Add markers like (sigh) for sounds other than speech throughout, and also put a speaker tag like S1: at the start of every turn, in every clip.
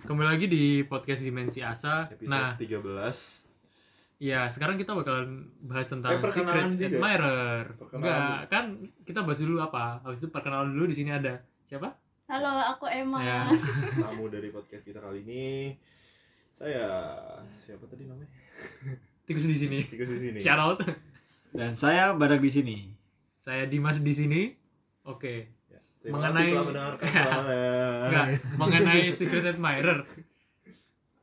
S1: Kembali lagi di podcast Dimensi Asa.
S2: Episode
S1: Nah,
S2: 13
S1: ya sekarang kita bakalan bahas tentang
S2: Eh,
S1: Secret
S2: perkenalan juga.
S1: Admirer.
S2: Perkenalan
S1: Enggak, kan kita bahas dulu apa? Habis itu perkenalan dulu di sini ada siapa?
S3: Halo, aku Emma.
S1: Ya. (laughs)
S2: Tamu dari podcast kita kali ini Saya Siapa tadi namanya?
S1: Tikus di sini.
S2: Tikus di sini
S1: Shout out.
S4: Dan saya badak di sini.
S1: Saya Dimas di sini. Oke.
S2: Ya, Terima
S1: Mengenai-
S2: kasih telah
S1: (laughs)
S2: mendengarkan Selamat. eh,
S1: Enggak, mengenai Secret Admirer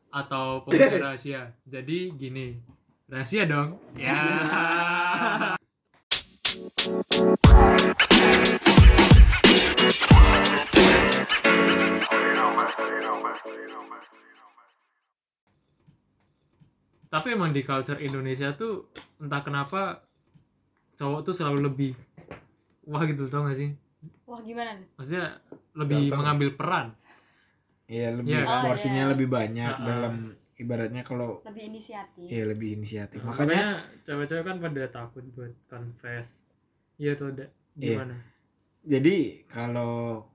S1: atau pembuka rahasia. Jadi gini, rahasia dong. Ya. Tapi emang di culture Indonesia tuh entah kenapa cowok tuh selalu lebih wah gitu tau gak sih?
S3: Wah, gimana nih?
S1: Maksudnya lebih
S2: Ganteng.
S1: mengambil peran.
S4: Iya, lebih
S1: Iya,
S3: kan?
S4: porsinya
S3: Oh, iya.
S4: lebih banyak
S1: Ah, ah.
S4: dalam ibaratnya kalau
S3: Lebih inisiatif.
S1: Iya.
S4: ya lebih inisiatif.
S1: Hmm.
S4: Makanya
S1: makanya cewek-cewek kan pada takut buat confess iya tuh ada
S4: Iya.
S1: gimana
S4: jadi kalau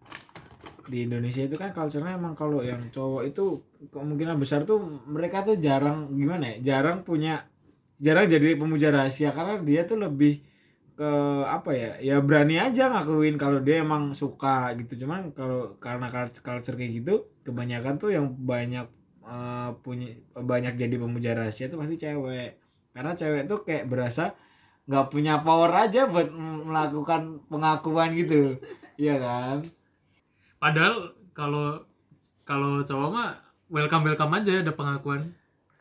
S4: di Indonesia itu kan culture-nya emang kalau yang cowok itu kemungkinan besar tuh mereka tuh jarang gimana ya? Jarang punya jarang jadi pemuja rahasia karena dia tuh lebih ke apa ya? Ya berani aja ngakuin kalau dia emang suka gitu. Cuman kalau karena cul- culture kayak gitu kebanyakan tuh yang banyak eh, punya banyak jadi pemuja rahasia tuh pasti cewek. Karena cewek tuh kayak berasa nggak punya power aja buat m- melakukan pengakuan gitu. Iya kan?
S1: padahal kalau kalau cowok mah welcome welcome aja ada pengakuan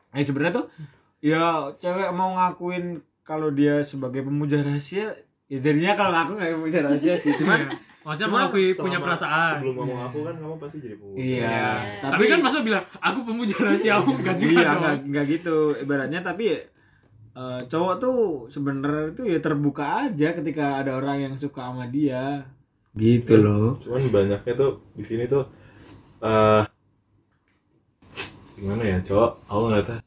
S4: Eh sebenarnya tuh ya cewek mau ngakuin kalau dia sebagai pemuja rahasia ya jadinya kalau ngaku nggak pemuja rahasia sih
S1: (laughs)
S4: cuman
S1: Iya. maksudnya
S4: cuman
S1: mengakui
S2: Selama-
S1: punya perasaan
S2: Sebelum ngomong
S4: Iya.
S2: aku kan kamu pasti jadi pengusaha
S4: iya
S1: Iya. tapi, kan masa bilang aku (laughs) pemuja rahasiamu enggak juga
S4: iya,
S1: dong
S4: nggak nggak gitu ibaratnya tapi eh, cowok tuh sebenarnya tuh ya terbuka aja ketika ada orang yang suka sama dia gitu loh
S2: Cuman banyaknya tuh di sini tuh eh Gimana ya cowok Aku ngeliatnya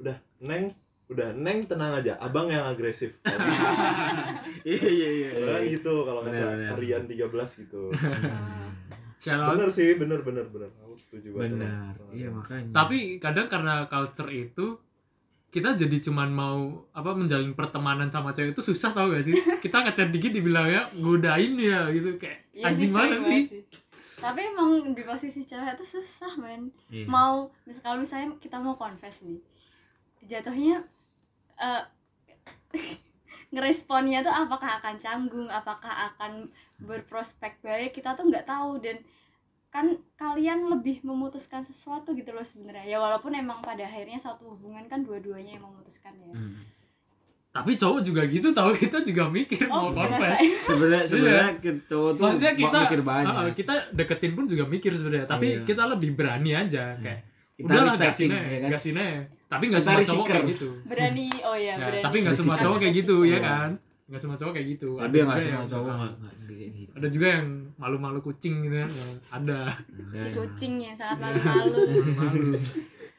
S2: Udah Neng Udah Neng tenang aja Abang yang
S1: (laughs)
S2: agresif
S4: (laughs) iya iya iya
S2: Kan gitu Kalau
S4: Bener, bener.
S2: kata Harian 13 gitu
S1: Ah,
S3: Ah.
S1: Shout out.
S2: Bener sih bener bener bener Aku setuju banget
S4: benar iya makanya
S1: tapi kadang karena culture itu kita jadi cuman mau apa menjalin pertemanan sama cewek itu susah tau gak sih kita ngechat dikit dibilang ya godain ya gitu kayak
S3: Iya
S1: anjing
S3: sering
S1: banget sih
S3: Tapi emang di posisi cewek tuh susah, men.
S4: Iya.
S3: Mau mis- kalau misalnya kita mau confess nih. Jatuhnya eh (laughs) ngeresponnya tuh apakah akan canggung, apakah akan berprospek baik, kita tuh nggak tahu dan kan kalian lebih memutuskan sesuatu gitu loh sebenarnya. Ya walaupun emang pada akhirnya satu hubungan kan dua-duanya yang memutuskan ya.
S4: Hmm.
S1: tapi cowok juga gitu tau kita juga mikir mau confess
S3: Oh, berasa-
S4: sebenarnya sebenarnya ke- cowok tuh
S1: Iya. maksudnya
S4: ba-
S1: kita
S4: mikir banyak
S1: uh, kita deketin pun juga mikir sebenarnya tapi
S4: Iya.
S1: kita lebih berani aja kayak
S4: Kita
S1: udahlah
S4: risk
S1: gasin
S4: taking,
S1: aja
S4: ya kan?
S1: gasin aja tapi nggak
S4: Kita
S1: semua
S4: risk
S1: cowok
S4: taker.
S1: kayak gitu
S3: berani oh ya,
S1: Ya,
S3: berani
S1: tapi nggak semua
S4: Risiko.
S1: cowok kayak gitu ya
S4: Iya.
S1: kan nggak semua cowok kayak gitu
S4: tapi ya nggak
S1: juga
S4: semua
S1: yang-
S4: cowok nggak nggak gitu.
S1: ada juga yang malu-malu kucing gitu kan yang ada
S4: Iya,
S3: si kucing ya sangat malu-malu Eh,
S1: malu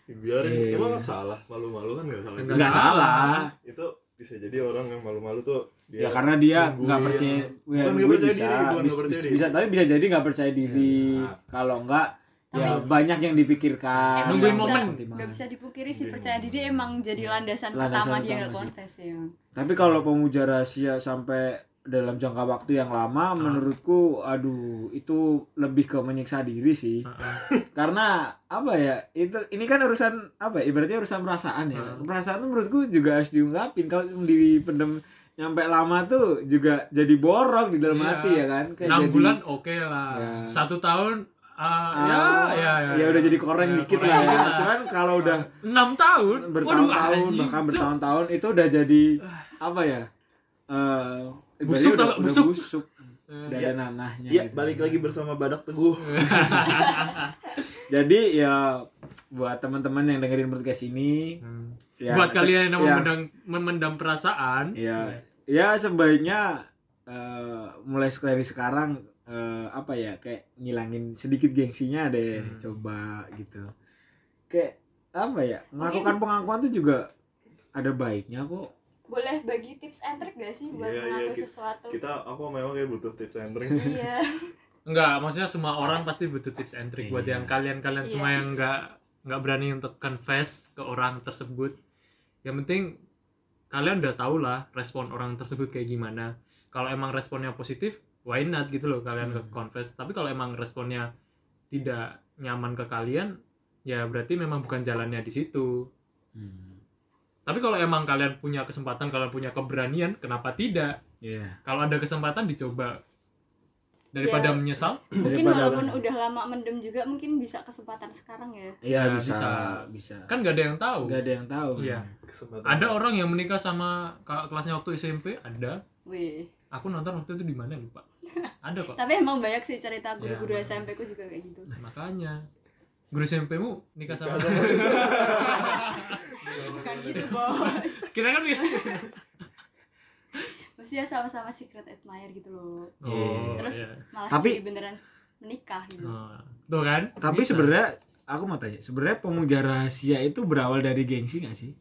S2: biarin
S4: Iya.
S2: emang salah malu-malu kan nggak salah
S1: Nggak
S2: juga.
S4: nggak salah
S2: itu bisa jadi orang yang malu-malu tuh
S4: ya karena dia nggak percaya ya,
S2: Bukan nggak
S4: gue
S2: percaya
S4: bisa,
S2: diri, bukan
S4: bis-
S2: nggak percaya
S4: bis-
S2: diri.
S4: bisa tapi bisa jadi nggak percaya diri
S2: Ya.
S4: kalau nggak ya
S3: Tapi-
S4: banyak yang dipikirkan
S3: Emang
S1: Nungguin
S3: nggak
S1: momen.
S3: bisa, nggak bisa dipungkiri sih
S2: Nungguin
S3: percaya diri emang jadi landasan,
S4: Landasan
S3: pertama dia
S4: utama
S3: nggak
S4: sih.
S3: confess ya
S4: tapi kalau pemuja rahasia sampai dalam jangka waktu yang
S1: Ah.
S4: lama menurutku aduh itu lebih ke menyiksa diri sih
S1: Heeh.
S4: (laughs) karena apa ya itu ini kan urusan apa ya, ibaratnya urusan perasaan ya
S1: Hmm.
S4: perasaan tuh menurutku juga harus diungkapin kalau cuma dipendem nyampe lama tuh juga jadi borok di dalam
S1: Iya.
S4: hati ya kan Kayak
S1: enam
S4: jadi-
S1: bulan oke lah
S4: Ya.
S1: satu tahun ah,
S4: Ah,
S1: ya, ya, ya,
S4: ya udah jadi koreng
S1: Ya,
S4: dikit
S1: koreng
S4: lah ya
S1: dikit Ah.
S4: cuman kalau udah
S1: enam tahun
S4: bertahun-tahun
S1: anjing,
S4: bahkan
S1: cuk.
S4: bertahun-tahun itu udah jadi apa ya eh
S1: Busuk tau
S4: ibaratnya udah,
S1: nggak?
S4: udah
S1: Busuk.
S4: busuk udah
S2: Iya.
S4: ada nanahnya
S2: Iya,
S4: gitu.
S2: balik lagi bersama Badak Teguh. (laughs)
S4: jadi ya buat teman-teman yang dengerin podcast ini
S1: Hmm.
S4: ya,
S1: buat
S4: se-
S1: kalian yang
S4: ya,
S1: memendam, memendam perasaan
S4: ya ya sebaiknya eh, mulai dari sekarang eh, apa ya kayak ngilangin sedikit gengsinya deh
S1: Hmm.
S4: coba gitu kayak apa ya melakukan pengakuan tuh juga ada baiknya kok
S3: boleh bagi tips and trick gak sih buat
S2: Iya, iya,
S3: mengaku
S2: ki-
S3: sesuatu
S2: (laughs) Kita aku memang kayak butuh tips and trick.
S3: iya
S1: Enggak, maksudnya semua orang pasti butuh tips and trick buat
S4: Iya.
S1: yang kalian-kalian semua
S3: Iya.
S1: yang enggak enggak berani untuk confess ke orang tersebut. Yang penting kalian udah tahu lah respon orang tersebut kayak gimana. Kalau emang responnya positif, why not gitu loh kalian ke
S4: Hmm.
S1: confess. Tapi kalau emang responnya tidak nyaman ke kalian, ya berarti memang bukan jalannya di situ.
S4: Hmm.
S1: Tapi kalau emang kalian punya kesempatan, kalian punya keberanian, kenapa tidak?
S4: Iya.
S1: Kalau ada kesempatan dicoba daripada
S3: Ya.
S1: menyesal.
S3: mungkin
S4: Daripada-
S3: walaupun udah lama mendem juga mungkin bisa kesempatan sekarang ya
S4: Iya
S1: Ya,
S4: bisa,
S1: bisa.
S4: bisa.
S1: kan nggak ada yang tahu
S4: Gak ada yang tahu.
S1: Iya.
S2: Kesempatan.
S1: ada orang yang menikah sama kakak kelasnya waktu SMP ada
S3: wih
S1: aku nonton waktu itu di mana lupa ada kok
S3: tapi emang banyak sih cerita
S1: Iya,
S3: guru-guru
S1: makanya.
S3: SMP ku juga kayak gitu
S1: makanya guru SMP mu nikah sama
S3: bukan gitu (laughs) bos
S1: kita kan
S3: maksudnya ya sama-sama secret admirer gitu loh
S1: oh,
S3: terus
S1: iya.
S3: malah
S4: Tapi-
S3: jadi beneran menikah gitu
S1: Nah, tuh kan
S4: Tapi
S1: Bisa.
S4: sebenarnya aku mau tanya, sebenarnya pemuja rahasia itu berawal dari gengsi gak sih?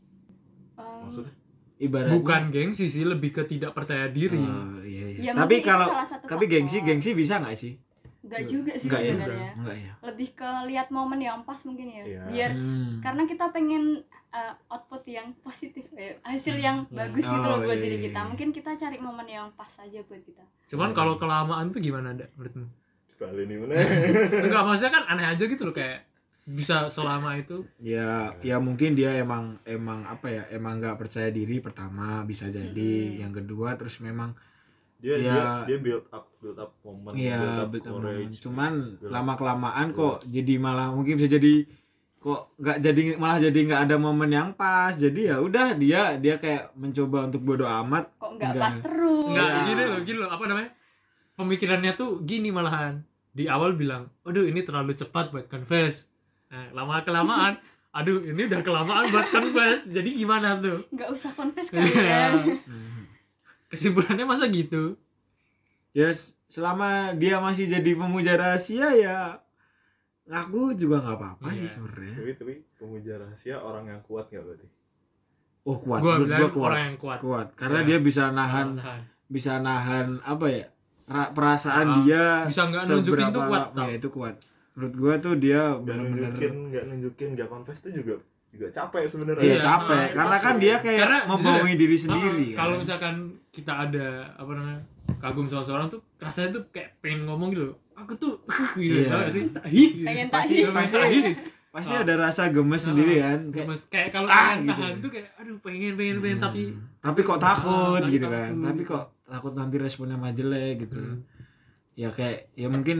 S3: Em,
S2: Maksudnya?
S4: Ibaratnya
S1: bukan gengsi sih lebih ke tidak percaya diri
S4: Oh, iya,
S3: Ya,
S4: iya.
S3: mungkin
S4: tapi
S3: itu
S4: kalau
S3: salah satu
S4: tapi
S3: faktor.
S4: gengsi gengsi bisa nggak sih?
S3: nggak juga sih
S4: Nggak ya?
S3: sebenarnya
S4: Enggak ya.
S3: lebih ke lihat momen yang pas mungkin ya
S2: Iya.
S3: biar
S4: Hmm.
S3: karena kita pengen uh, output yang positif eh, hasil
S4: Hmm.
S3: yang
S1: Ya.
S3: bagus gitu loh
S4: Oh,
S3: buat
S4: iya,
S3: diri
S4: iya,
S3: kita
S4: iya.
S3: mungkin kita cari momen yang pas aja buat kita
S1: cuman kalau kelamaan tuh gimana ada menurutmu
S2: Bali nih
S4: (laughs)
S2: mana?
S1: enggak maksudnya kan aneh aja gitu loh kayak bisa selama itu
S4: Ya, ya mungkin dia emang emang apa ya? Emang nggak percaya diri pertama bisa jadi.
S3: Mm-mm.
S4: Yang kedua terus memang
S2: Dia
S4: Iya.
S2: dia dia build up build up momen
S1: Iya,
S4: ya
S2: build up
S4: betul.
S2: courage.
S4: Cuman
S2: Build up.
S4: lama kelamaan kok jadi malah mungkin bisa jadi kok nggak jadi malah jadi nggak ada momen yang pas. Jadi ya udah dia dia kayak mencoba untuk bodoh amat.
S3: kok nggak
S4: Enggak.
S3: pas terus
S1: enggak
S4: Iya.
S1: gini loh gini loh apa namanya pemikirannya tuh gini malahan di awal bilang aduh ini terlalu cepat buat confess nah, lama kelamaan aduh ini udah kelamaan buat confess jadi gimana tuh
S3: nggak usah confess kali
S4: Iya.
S3: ya
S1: (laughs) kesimpulannya masa gitu
S4: Ya s- selama dia masih jadi pemuja rahasia ya ngaku juga nggak apa-apa sih
S1: Iya.
S4: sebenarnya.
S2: Tapi tapi pemuja rahasia orang yang kuat nggak berarti?
S4: Oh kuat,
S1: gua
S4: menurut gua
S1: bilang
S4: kuat,
S1: orang yang kuat
S4: kuat. Karena
S1: Ya.
S4: dia bisa nahan,
S1: Tahan.
S4: bisa nahan apa ya ra- perasaan
S1: Ah,
S4: dia.
S1: bisa nggak nunjukin
S4: seberapa
S1: tuh kuat,
S4: lama-
S1: tau.
S4: Ya, itu kuat. Menurut gua tuh dia
S2: Gak
S4: benar-benar
S2: nunjukin nggak nunjukin nggak confess tuh juga juga capek sebenarnya.
S4: Iya
S1: Iya,
S4: capek.
S3: nah,
S4: Karena
S3: itu
S4: kan
S3: sih.
S4: dia kayak
S1: Karena
S4: membohongi diri sendiri.
S1: Ah, kalau
S4: kan.
S1: misalkan kita ada apa namanya kagum sama seorang tuh rasanya tuh kayak pengen ngomong gitu loh aku tuh (laughs) gitu
S4: Iya.
S1: tau gak sih tahi
S3: pengen
S4: Pasti
S3: tahi
S1: pengen
S4: pasti
S1: tahi
S4: pasti
S1: Ah.
S4: ada rasa gemes
S1: Ah,
S4: sendiri kan. Kayak,
S1: Gemes. kayak kalau
S4: Ah,
S1: tahan
S4: gitu.
S1: tahan tuh kayak aduh pengen pengen pengen
S4: hmm,
S1: tapi
S4: tapi kok takut
S1: Ah,
S4: gitu
S1: tapi
S4: kan.
S1: takut.
S4: Tapi kok takut nanti responnya malah jelek gitu. ya kayak ya mungkin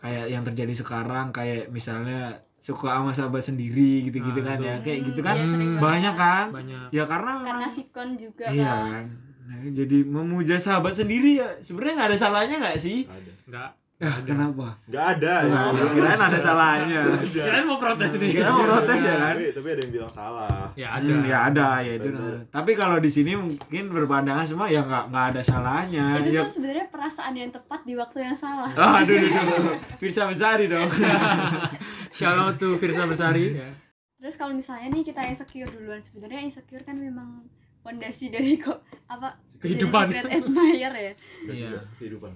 S4: kayak yang terjadi sekarang kayak misalnya suka sama sahabat sendiri gitu-gitu
S1: Nah,
S4: kan
S1: itu.
S4: ya kayak
S3: Hmm,
S4: gitu kan
S3: iya, sering
S4: banyak kan
S1: banyak
S4: ya karena memang
S3: karena sikon juga
S4: iya
S3: kan
S4: kan Nah, jadi memuja sahabat sendiri ya sebenarnya nggak ada salahnya nggak sih
S2: Nggak ada.
S1: enggak
S4: ah, kenapa
S2: Nggak ada. ya.
S4: Nah, kirain ada salahnya
S2: Ada.
S1: kalian mau protes nih
S4: Kirain mau protes ya kan
S2: Tapi, tapi ada yang bilang salah.
S1: ya ada
S4: Hmm, ya ada ya itu nah. tapi kalau di sini mungkin berpandangan semua ya nggak nggak ada salahnya
S3: itu
S4: ya
S3: tuh sebenarnya perasaan yang tepat di waktu yang salah
S4: Ah, aduh, aduh, aduh. Firsa Besari dong.
S1: (laughs) shout out to Firsa Besari ya.
S3: terus kalau misalnya nih kita insecure duluan sebenarnya insecure kan memang pondasi dari kok apa jadi
S1: Kehidupan.
S3: secret admirer ya
S2: Dan
S4: Iya.
S2: juga Kehidupan.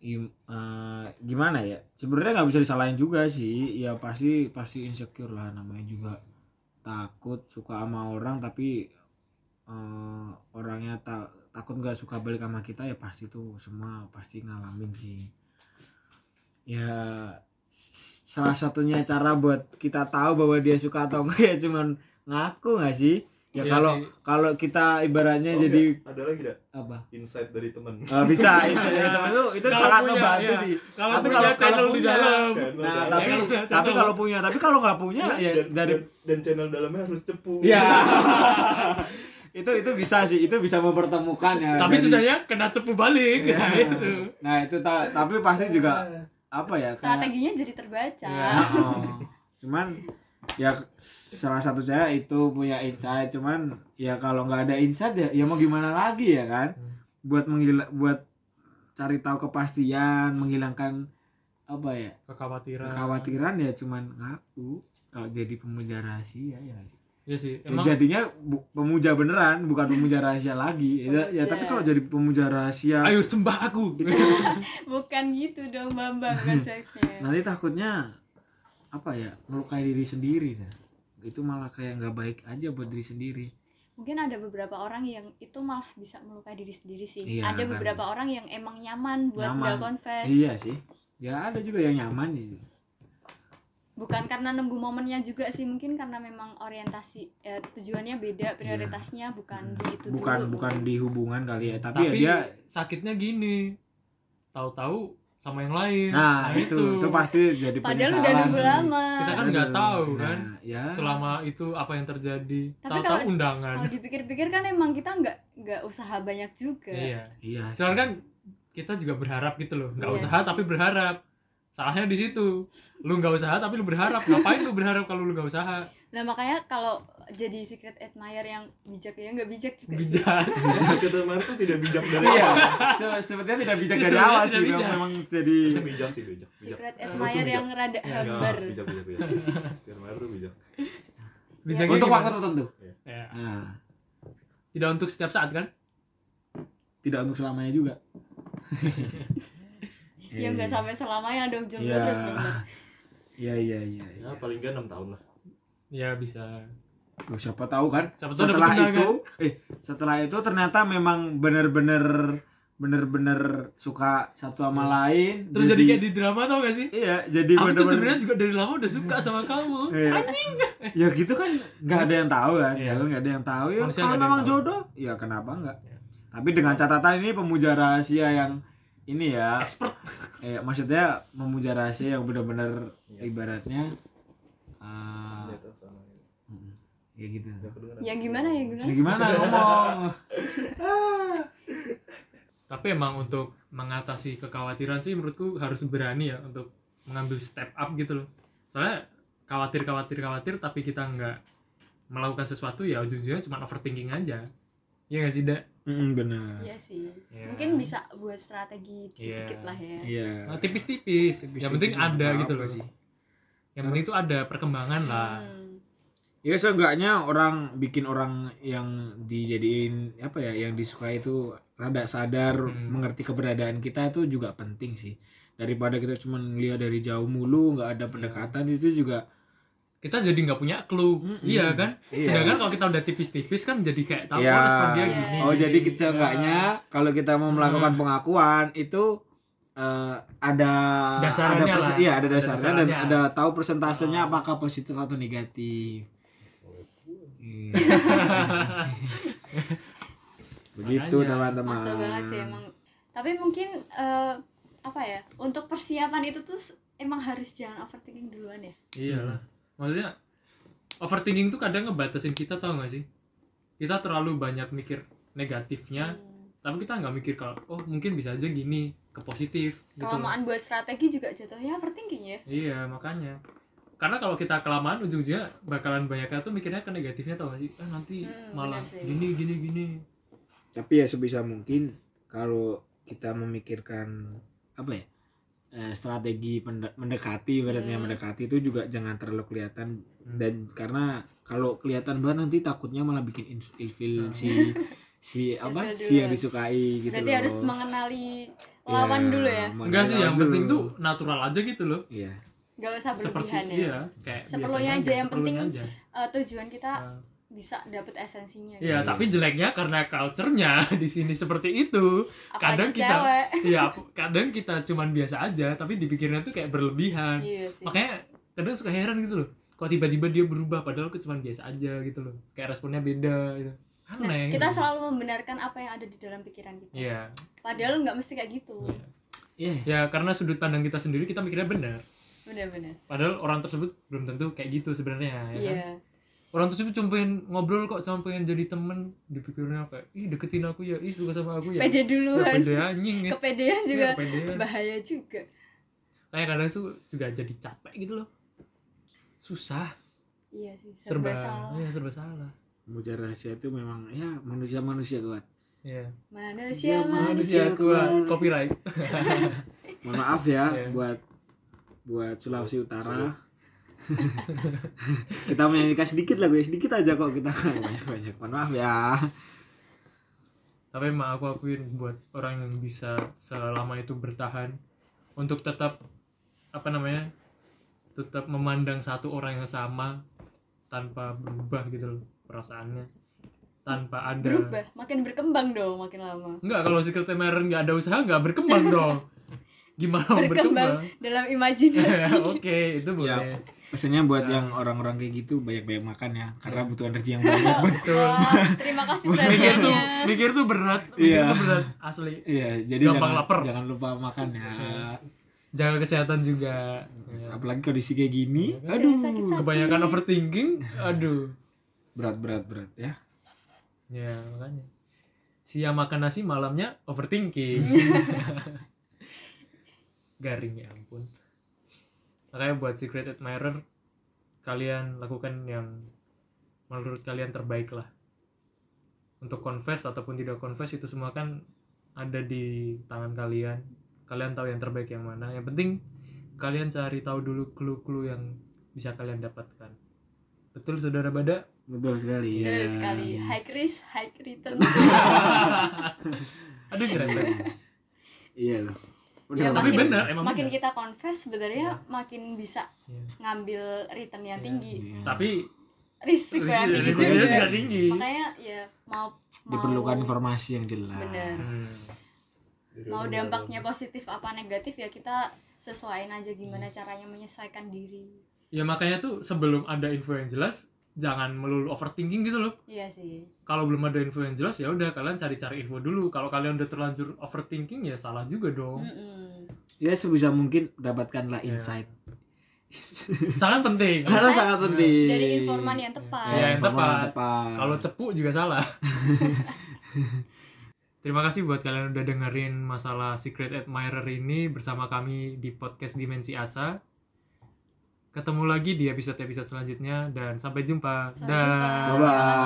S4: Im- eh, gimana ya sebenarnya nggak bisa disalahin juga sih ya pasti pasti insecure lah namanya juga takut suka sama orang tapi eh, orangnya ta- takut nggak suka balik sama kita ya pasti tuh semua pasti ngalamin sih ya s- salah satunya cara buat kita tahu bahwa dia suka atau enggak ya cuman ngaku nggak sih ya
S1: Iya
S4: kalau
S1: sih.
S4: kalau kita ibaratnya
S2: Oh,
S4: jadi
S2: nggak, ada lagi nggak
S4: apa
S2: insight dari teman? (laughs)
S4: Eh, bisa insight dari teman itu itu
S1: Kalau
S4: sangat
S1: punya,
S4: membantu
S1: iya.
S4: sih
S1: kalau
S4: Tapi
S1: punya
S4: kalau- kalau
S1: channel di
S4: punya,
S1: dalam Iya,
S2: Channel
S4: Nah,
S2: dalam.
S4: tapi
S1: Channel.
S4: tapi kalau punya, tapi kalau nggak punya ya
S2: dan,
S4: dari
S2: dan, dan channel dalamnya harus cepu. (laughs)
S4: ya itu itu bisa sih, itu bisa mempertemukan ya.
S1: tapi
S4: Jadi-
S1: susahnya kena cepu balik (laughs)
S4: Ya.
S1: Nah, itu
S4: Nah, itu ta- tapi pasti juga apa ya kayak
S3: strateginya jadi terbaca
S1: Iya.
S4: Oh, (laughs) cuman ya salah satu saya itu punya insight cuman ya kalau nggak ada insight ya ya mau gimana lagi ya kan
S1: Hmm.
S4: buat menggila buat cari tahu kepastian menghilangkan apa ya
S1: kekhawatiran
S4: kekhawatiran ya cuman ngaku kalau jadi pemuja rahasia ya nggak sih?
S1: Iya sih.
S4: Ya,
S1: Emang
S4: jadinya bu- pemuja beneran bukan pemuja rahasia lagi ya, ya, tapi kalau jadi pemuja rahasia
S1: Iya. ayo sembah aku.
S3: (laughs)
S1: (laughs)
S3: bukan gitu dong bambang konsepnya
S4: nanti takutnya apa ya melukai diri sendiri nah. itu malah kayak nggak baik aja buat diri sendiri
S3: mungkin ada beberapa orang yang itu malah bisa melukai diri sendiri sih
S4: Iya,
S3: ada
S4: kan.
S3: beberapa orang yang emang nyaman buat
S4: Nyaman.
S3: nggak confess
S4: iya sih ya ada juga yang nyaman sih
S3: bukan karena nunggu momennya juga sih mungkin karena memang orientasi eh, tujuannya beda prioritasnya bukan di itu
S4: Iya. bukan
S3: dulu
S4: bukan di hubungan kali ya tapi,
S1: Tapi
S4: ya
S1: sakitnya gini. Tahu-tahu sama yang lain.
S4: dia nah itu itu pasti jadi
S3: padahal
S4: penyesalan
S3: udah nunggu
S4: sih. Iya.
S3: lama
S1: Kita kan nggak
S4: Aduh,
S1: tahu,
S4: nah,
S1: kan.
S4: ya
S1: Selama itu apa yang terjadi?
S3: Tapi
S1: Tahu-tahu
S3: kalau-
S1: undangan.
S3: kalau dipikir-pikir kan emang kita nggak nggak usaha banyak juga
S1: Iya.
S4: iya sih.
S1: Soalnya kan kita juga berharap gitu loh. Nggak
S3: Iya
S1: usaha
S3: sih.
S1: tapi berharap. Salahnya di situ. Lu nggak usaha tapi lu berharap. Ngapain lu berharap kalau lu nggak usaha?
S3: nah makanya kalau jadi secret admirer yang bijak ya nggak bijak juga sih. Iya.
S1: Bijak.
S2: Sekedar Mario tuh tidak bijak dari
S4: iya
S2: awal.
S4: Se- sepertinya tidak bijak dari awal
S1: Tidak
S4: sih
S1: bijak.
S4: memang- memang jadi
S2: Itu Iya, bijak sih bijak. Bijak.
S3: secret
S1: Aku
S3: admirer
S2: bijak.
S3: yang rada
S4: Ya,
S3: hambar
S2: Enggak, bijak bijak bijak. Sekedar Mario tuh bijak.
S1: Bijaknya
S4: untuk
S1: gimana?
S4: waktu tertentu
S1: Ya.
S4: nah
S1: Tidak untuk setiap saat kan?
S4: tidak untuk selamanya juga
S3: ya nggak sampai selamanya dong jomblo
S4: Iya.
S3: terus gitu. dong
S4: (laughs) Iya iya iya. iya.
S2: Ya paling enggak 6 tahun lah.
S1: Ya bisa.
S4: Loh, siapa tahu kan?
S1: Siapa tahu kan?
S4: setelah
S1: dapet
S4: itu, eh setelah itu ternyata memang bener-bener bener-bener suka satu sama
S1: Iya.
S4: lain.
S1: Terus jadi, kayak di drama tau gak sih?
S4: Iya, jadi
S1: Aku tuh
S4: bener-bener.
S1: sebenarnya juga dari lama udah suka sama kamu.
S4: Iya. Ya gitu kan nggak ada yang tahu kan,
S1: Iya.
S4: jalan nggak ada yang tahu ya.
S1: Manusia
S4: Kalau
S1: nggak ada
S4: memang
S1: yang tahu.
S4: jodoh, ya kenapa enggak?
S1: Iya.
S4: Tapi dengan catatan ini pemuja rahasia yang ini ya,
S1: Expert.
S4: eh, maksudnya memuja rahasia yang bener-bener
S2: Iya.
S4: ibaratnya eh,
S2: Ya, tuh, sama ini.
S4: mm, ya gitu.
S2: Nggak kedengeran.
S3: ya gimana ya
S4: Ya
S3: gimana
S4: gimana ngomong?
S1: Tapi emang untuk mengatasi kekhawatiran sih menurutku harus berani ya untuk mengambil step up gitu loh. Soalnya khawatir khawatir khawatir tapi kita nggak melakukan sesuatu ya ujung-ujungnya cuma overthinking aja. Iya gak sih, Dak?
S4: Mm, benar.
S3: Iya sih
S1: Iya.
S3: mungkin bisa buat strategi dikit
S1: Iya.
S3: lah ya
S4: Iya.
S1: Nah, tipis-tipis. yang penting ada gitu loh.
S4: sih.
S1: Yang penting itu ada perkembangan lah.
S3: Hmm.
S4: Ya seenggaknya orang bikin orang yang dijadiin apa ya yang disukai itu rada sadar
S1: Hmm.
S4: mengerti keberadaan kita itu juga penting sih. Daripada kita cuma ngeliat dari jauh mulu nggak
S1: Iya.
S4: ada pendekatan itu juga
S1: Kita jadi nggak punya clue.
S4: Mm-mm.
S1: Iya kan?
S4: Iya.
S1: Sedangkan kalau kita udah tipis-tipis kan jadi kayak tahu
S4: Iya.
S1: oh, respon dia gini. Hmm.
S4: oh jadi
S1: gini.
S4: kita seenggaknya kalau kita mau melakukan pengakuan itu eh, ada
S1: Dasarannya
S4: ada perse-
S1: lah.
S4: iya ada
S1: Ada Hmm.
S4: dasarnya dan
S1: dasarannya.
S4: ada tahu persentasenya apakah positif atau
S1: (laughs)
S4: negatif. Iya. Begitu
S1: Makanya.
S4: Gitu, teman-teman.
S3: Masuk banget sih emang. Tapi mungkin eh, apa ya? Untuk persiapan itu tuh s- emang harus jangan overthinking duluan ya.
S1: Iyalah. Hmm. Maksudnya overthinking tuh kadang ngebatasin kita tau gak sih? Kita terlalu banyak mikir negatifnya,
S3: Hmm.
S1: tapi kita nggak mikir kalau oh mungkin bisa aja gini ke positif gitu. loh.
S3: Kelamaan buat strategi juga jatuhnya overthinking ya.
S1: Iya, makanya. Karena kalau kita kelamaan ujung-ujungnya bakalan banyaknya tuh mikirnya ke negatifnya tau gak sih? Eh nanti
S3: Hmm,
S1: malah
S3: benar sih.
S1: gini gini gini.
S4: tapi ya sebisa mungkin kalau kita memikirkan apa ya eh, strategi pende- mendekati ibaratnya
S3: Hmm.
S4: mendekati itu juga jangan terlalu kelihatan
S1: Hmm.
S4: dan karena kalau kelihatan banget nanti takutnya malah bikin in- ilfil
S1: Hmm.
S4: si
S3: (laughs)
S4: si apa si yang
S3: duluan.
S4: disukai gitu
S3: Berarti
S4: loh.
S3: harus mengenali lawan
S4: Iya,
S3: dulu ya.
S4: mengenal
S1: Enggak sih,
S4: lawan
S1: yang
S4: dulu.
S1: penting tuh natural aja gitu loh.
S4: iya
S3: Gak usah
S1: Seperti
S3: berlebihan ya.
S1: iya, kayak
S3: Seperlunya
S1: biasanya
S3: aja, yang
S1: seperlunya
S3: penting-
S1: aja.
S3: Eh, tujuan kita
S1: Nah.
S3: bisa dapet esensinya.
S1: Iya,
S4: Iya.
S1: tapi jeleknya karena culture-nya (laughs) di sini seperti itu. kadang
S3: Apalagi
S1: kita-
S3: cewek. (laughs)
S1: Iya, ap- kadang kita cuman biasa aja, tapi dipikirnya tuh kayak berlebihan.
S3: Iya sih.
S1: Makanya kadang suka heran gitu loh. Kok tiba-tiba dia berubah padahal aku cuman biasa aja gitu loh. Kayak responnya beda gitu. Aneh.
S3: Nah,
S1: gitu.
S3: kita selalu membenarkan apa yang ada di dalam pikiran kita.
S1: Iya.
S3: Padahal nggak mesti kayak gitu.
S1: Iya.
S4: iya
S1: Ya karena sudut pandang kita sendiri kita mikirnya benar.
S3: Benar-benar.
S1: Padahal orang tersebut belum tentu kayak gitu sebenarnya ya kan?
S3: Iya.
S1: Orang tersebut cuma pengen ngobrol kok sama pengen jadi temen dipikirnya kayak ih deketin aku ya, ih suka sama aku ya.
S3: Pede
S1: Ya,
S3: duluan.
S1: pede anjing
S3: (laughs)
S1: ya.
S3: Kepedean juga
S1: Iya, kepedean.
S3: bahaya juga.
S1: Kayak kadang tuh juga jadi capek gitu loh. Susah,
S3: Iya sih,
S1: serba,
S3: serba, salah.
S1: Iya, serba salah.
S4: Muja rahasia itu memang ya manusia manusia kuat
S1: Iya.
S3: Manusia,
S4: Iya,
S3: manusia,
S1: manusia kan kuat copyright
S4: mohon maaf ya
S1: Iya.
S4: buat buat Sulawesi Utara (laughs) kita menyanyikan sedikit lagu ya sedikit aja kok
S1: (laughs)
S4: kita banyak banyak mohon maaf ya
S1: tapi emang aku akuin buat orang yang bisa selama itu bertahan untuk tetap apa namanya tetap memandang satu orang yang sama tanpa berubah gitu loh perasaannya tanpa ada
S3: berubah makin berkembang dong makin lama
S1: Enggak, kalau Secret Admirer nggak ada usaha nggak berkembang dong. Gimana mau Oh, berkembang? Iya.
S3: berkembang dalam
S1: (laughs)
S3: imajinasi
S1: Oke, itu boleh.
S4: Ya. Pesannya buat
S1: Iya.
S4: yang orang-orang kayak gitu banyak-banyak makan ya karena butuh energi yang banyak banget.
S1: (laughs) Betul.
S3: Wah, terima kasih ya.
S1: Mikir tuh,
S3: perhatiannya
S1: mikir tuh berat, mikir
S4: Iya.
S1: tuh berat asli.
S4: Iya, jadi
S1: Gampang
S4: jangan,
S1: lapar. Iya.
S4: jangan lupa makan ya.
S1: Jaga kesehatan juga. Ya.
S4: Apalagi kondisi kayak gini,
S1: Iya.
S3: Jangan
S4: aduh,
S3: sakit-sakit.
S1: Kebanyakan overthinking, aduh.
S4: berat berat berat ya.
S1: Ya, makanya. Siang makan nasi malamnya overthinking. Garing ya ampun. Makanya buat Secret Admirer kalian lakukan yang menurut kalian terbaik lah. Untuk confess ataupun tidak confess itu semua kan ada di tangan kalian. Kalian tahu yang terbaik yang mana. Yang penting kalian cari tahu dulu clue-clue yang bisa kalian dapatkan. Betul saudara Bada?
S4: Betul
S1: Iya.
S4: sekali.
S3: Betul
S4: ya.
S3: sekali high risk high return
S1: (laughs) Aduh keren.
S4: Iya loh.
S3: Ya,
S4: Bener,
S1: Tapi
S4: bener.
S1: benar, emang
S3: makin
S1: benar.
S3: kita confess sebenarnya makin bisa
S1: Iya.
S3: ngambil return yang
S1: Iya.
S3: tinggi
S4: Iya.
S1: Tapi
S3: risiko yang tinggi
S1: risikonya
S4: juga.
S1: juga tinggi.
S3: makanya ya mau mau
S4: diperlukan informasi yang jelas.
S3: bener
S1: Hmm.
S2: Iya,
S3: mau dampaknya positif apa negatif ya kita sesuaiin aja gimana caranya menyesuaikan diri
S1: Ya makanya tuh sebelum ada info yang jelas, jangan melulu overthinking gitu loh.
S3: iya sih
S1: Kalau belum ada info yang jelas ya udah kalian cari-cari info dulu. Kalau kalian udah terlanjur overthinking ya salah juga dong.
S3: Mm-mm.
S4: Ya sebisa mungkin dapatkanlah
S1: Iya.
S4: insight.
S1: Salah
S3: (laughs)
S1: penting.
S4: Karena
S3: Insight
S4: sangat penting.
S3: dari informan yang tepat
S1: Iya, yang
S4: informan
S1: tepat. Kalau cepu juga salah. (laughs) Terima kasih buat kalian udah dengerin masalah Secret Admirer ini bersama kami di podcast Dimensi Asa. Ketemu lagi di episode-episode selanjutnya dan sampai jumpa.
S3: Sampai jumpa.
S1: Dah.
S4: Bye-bye.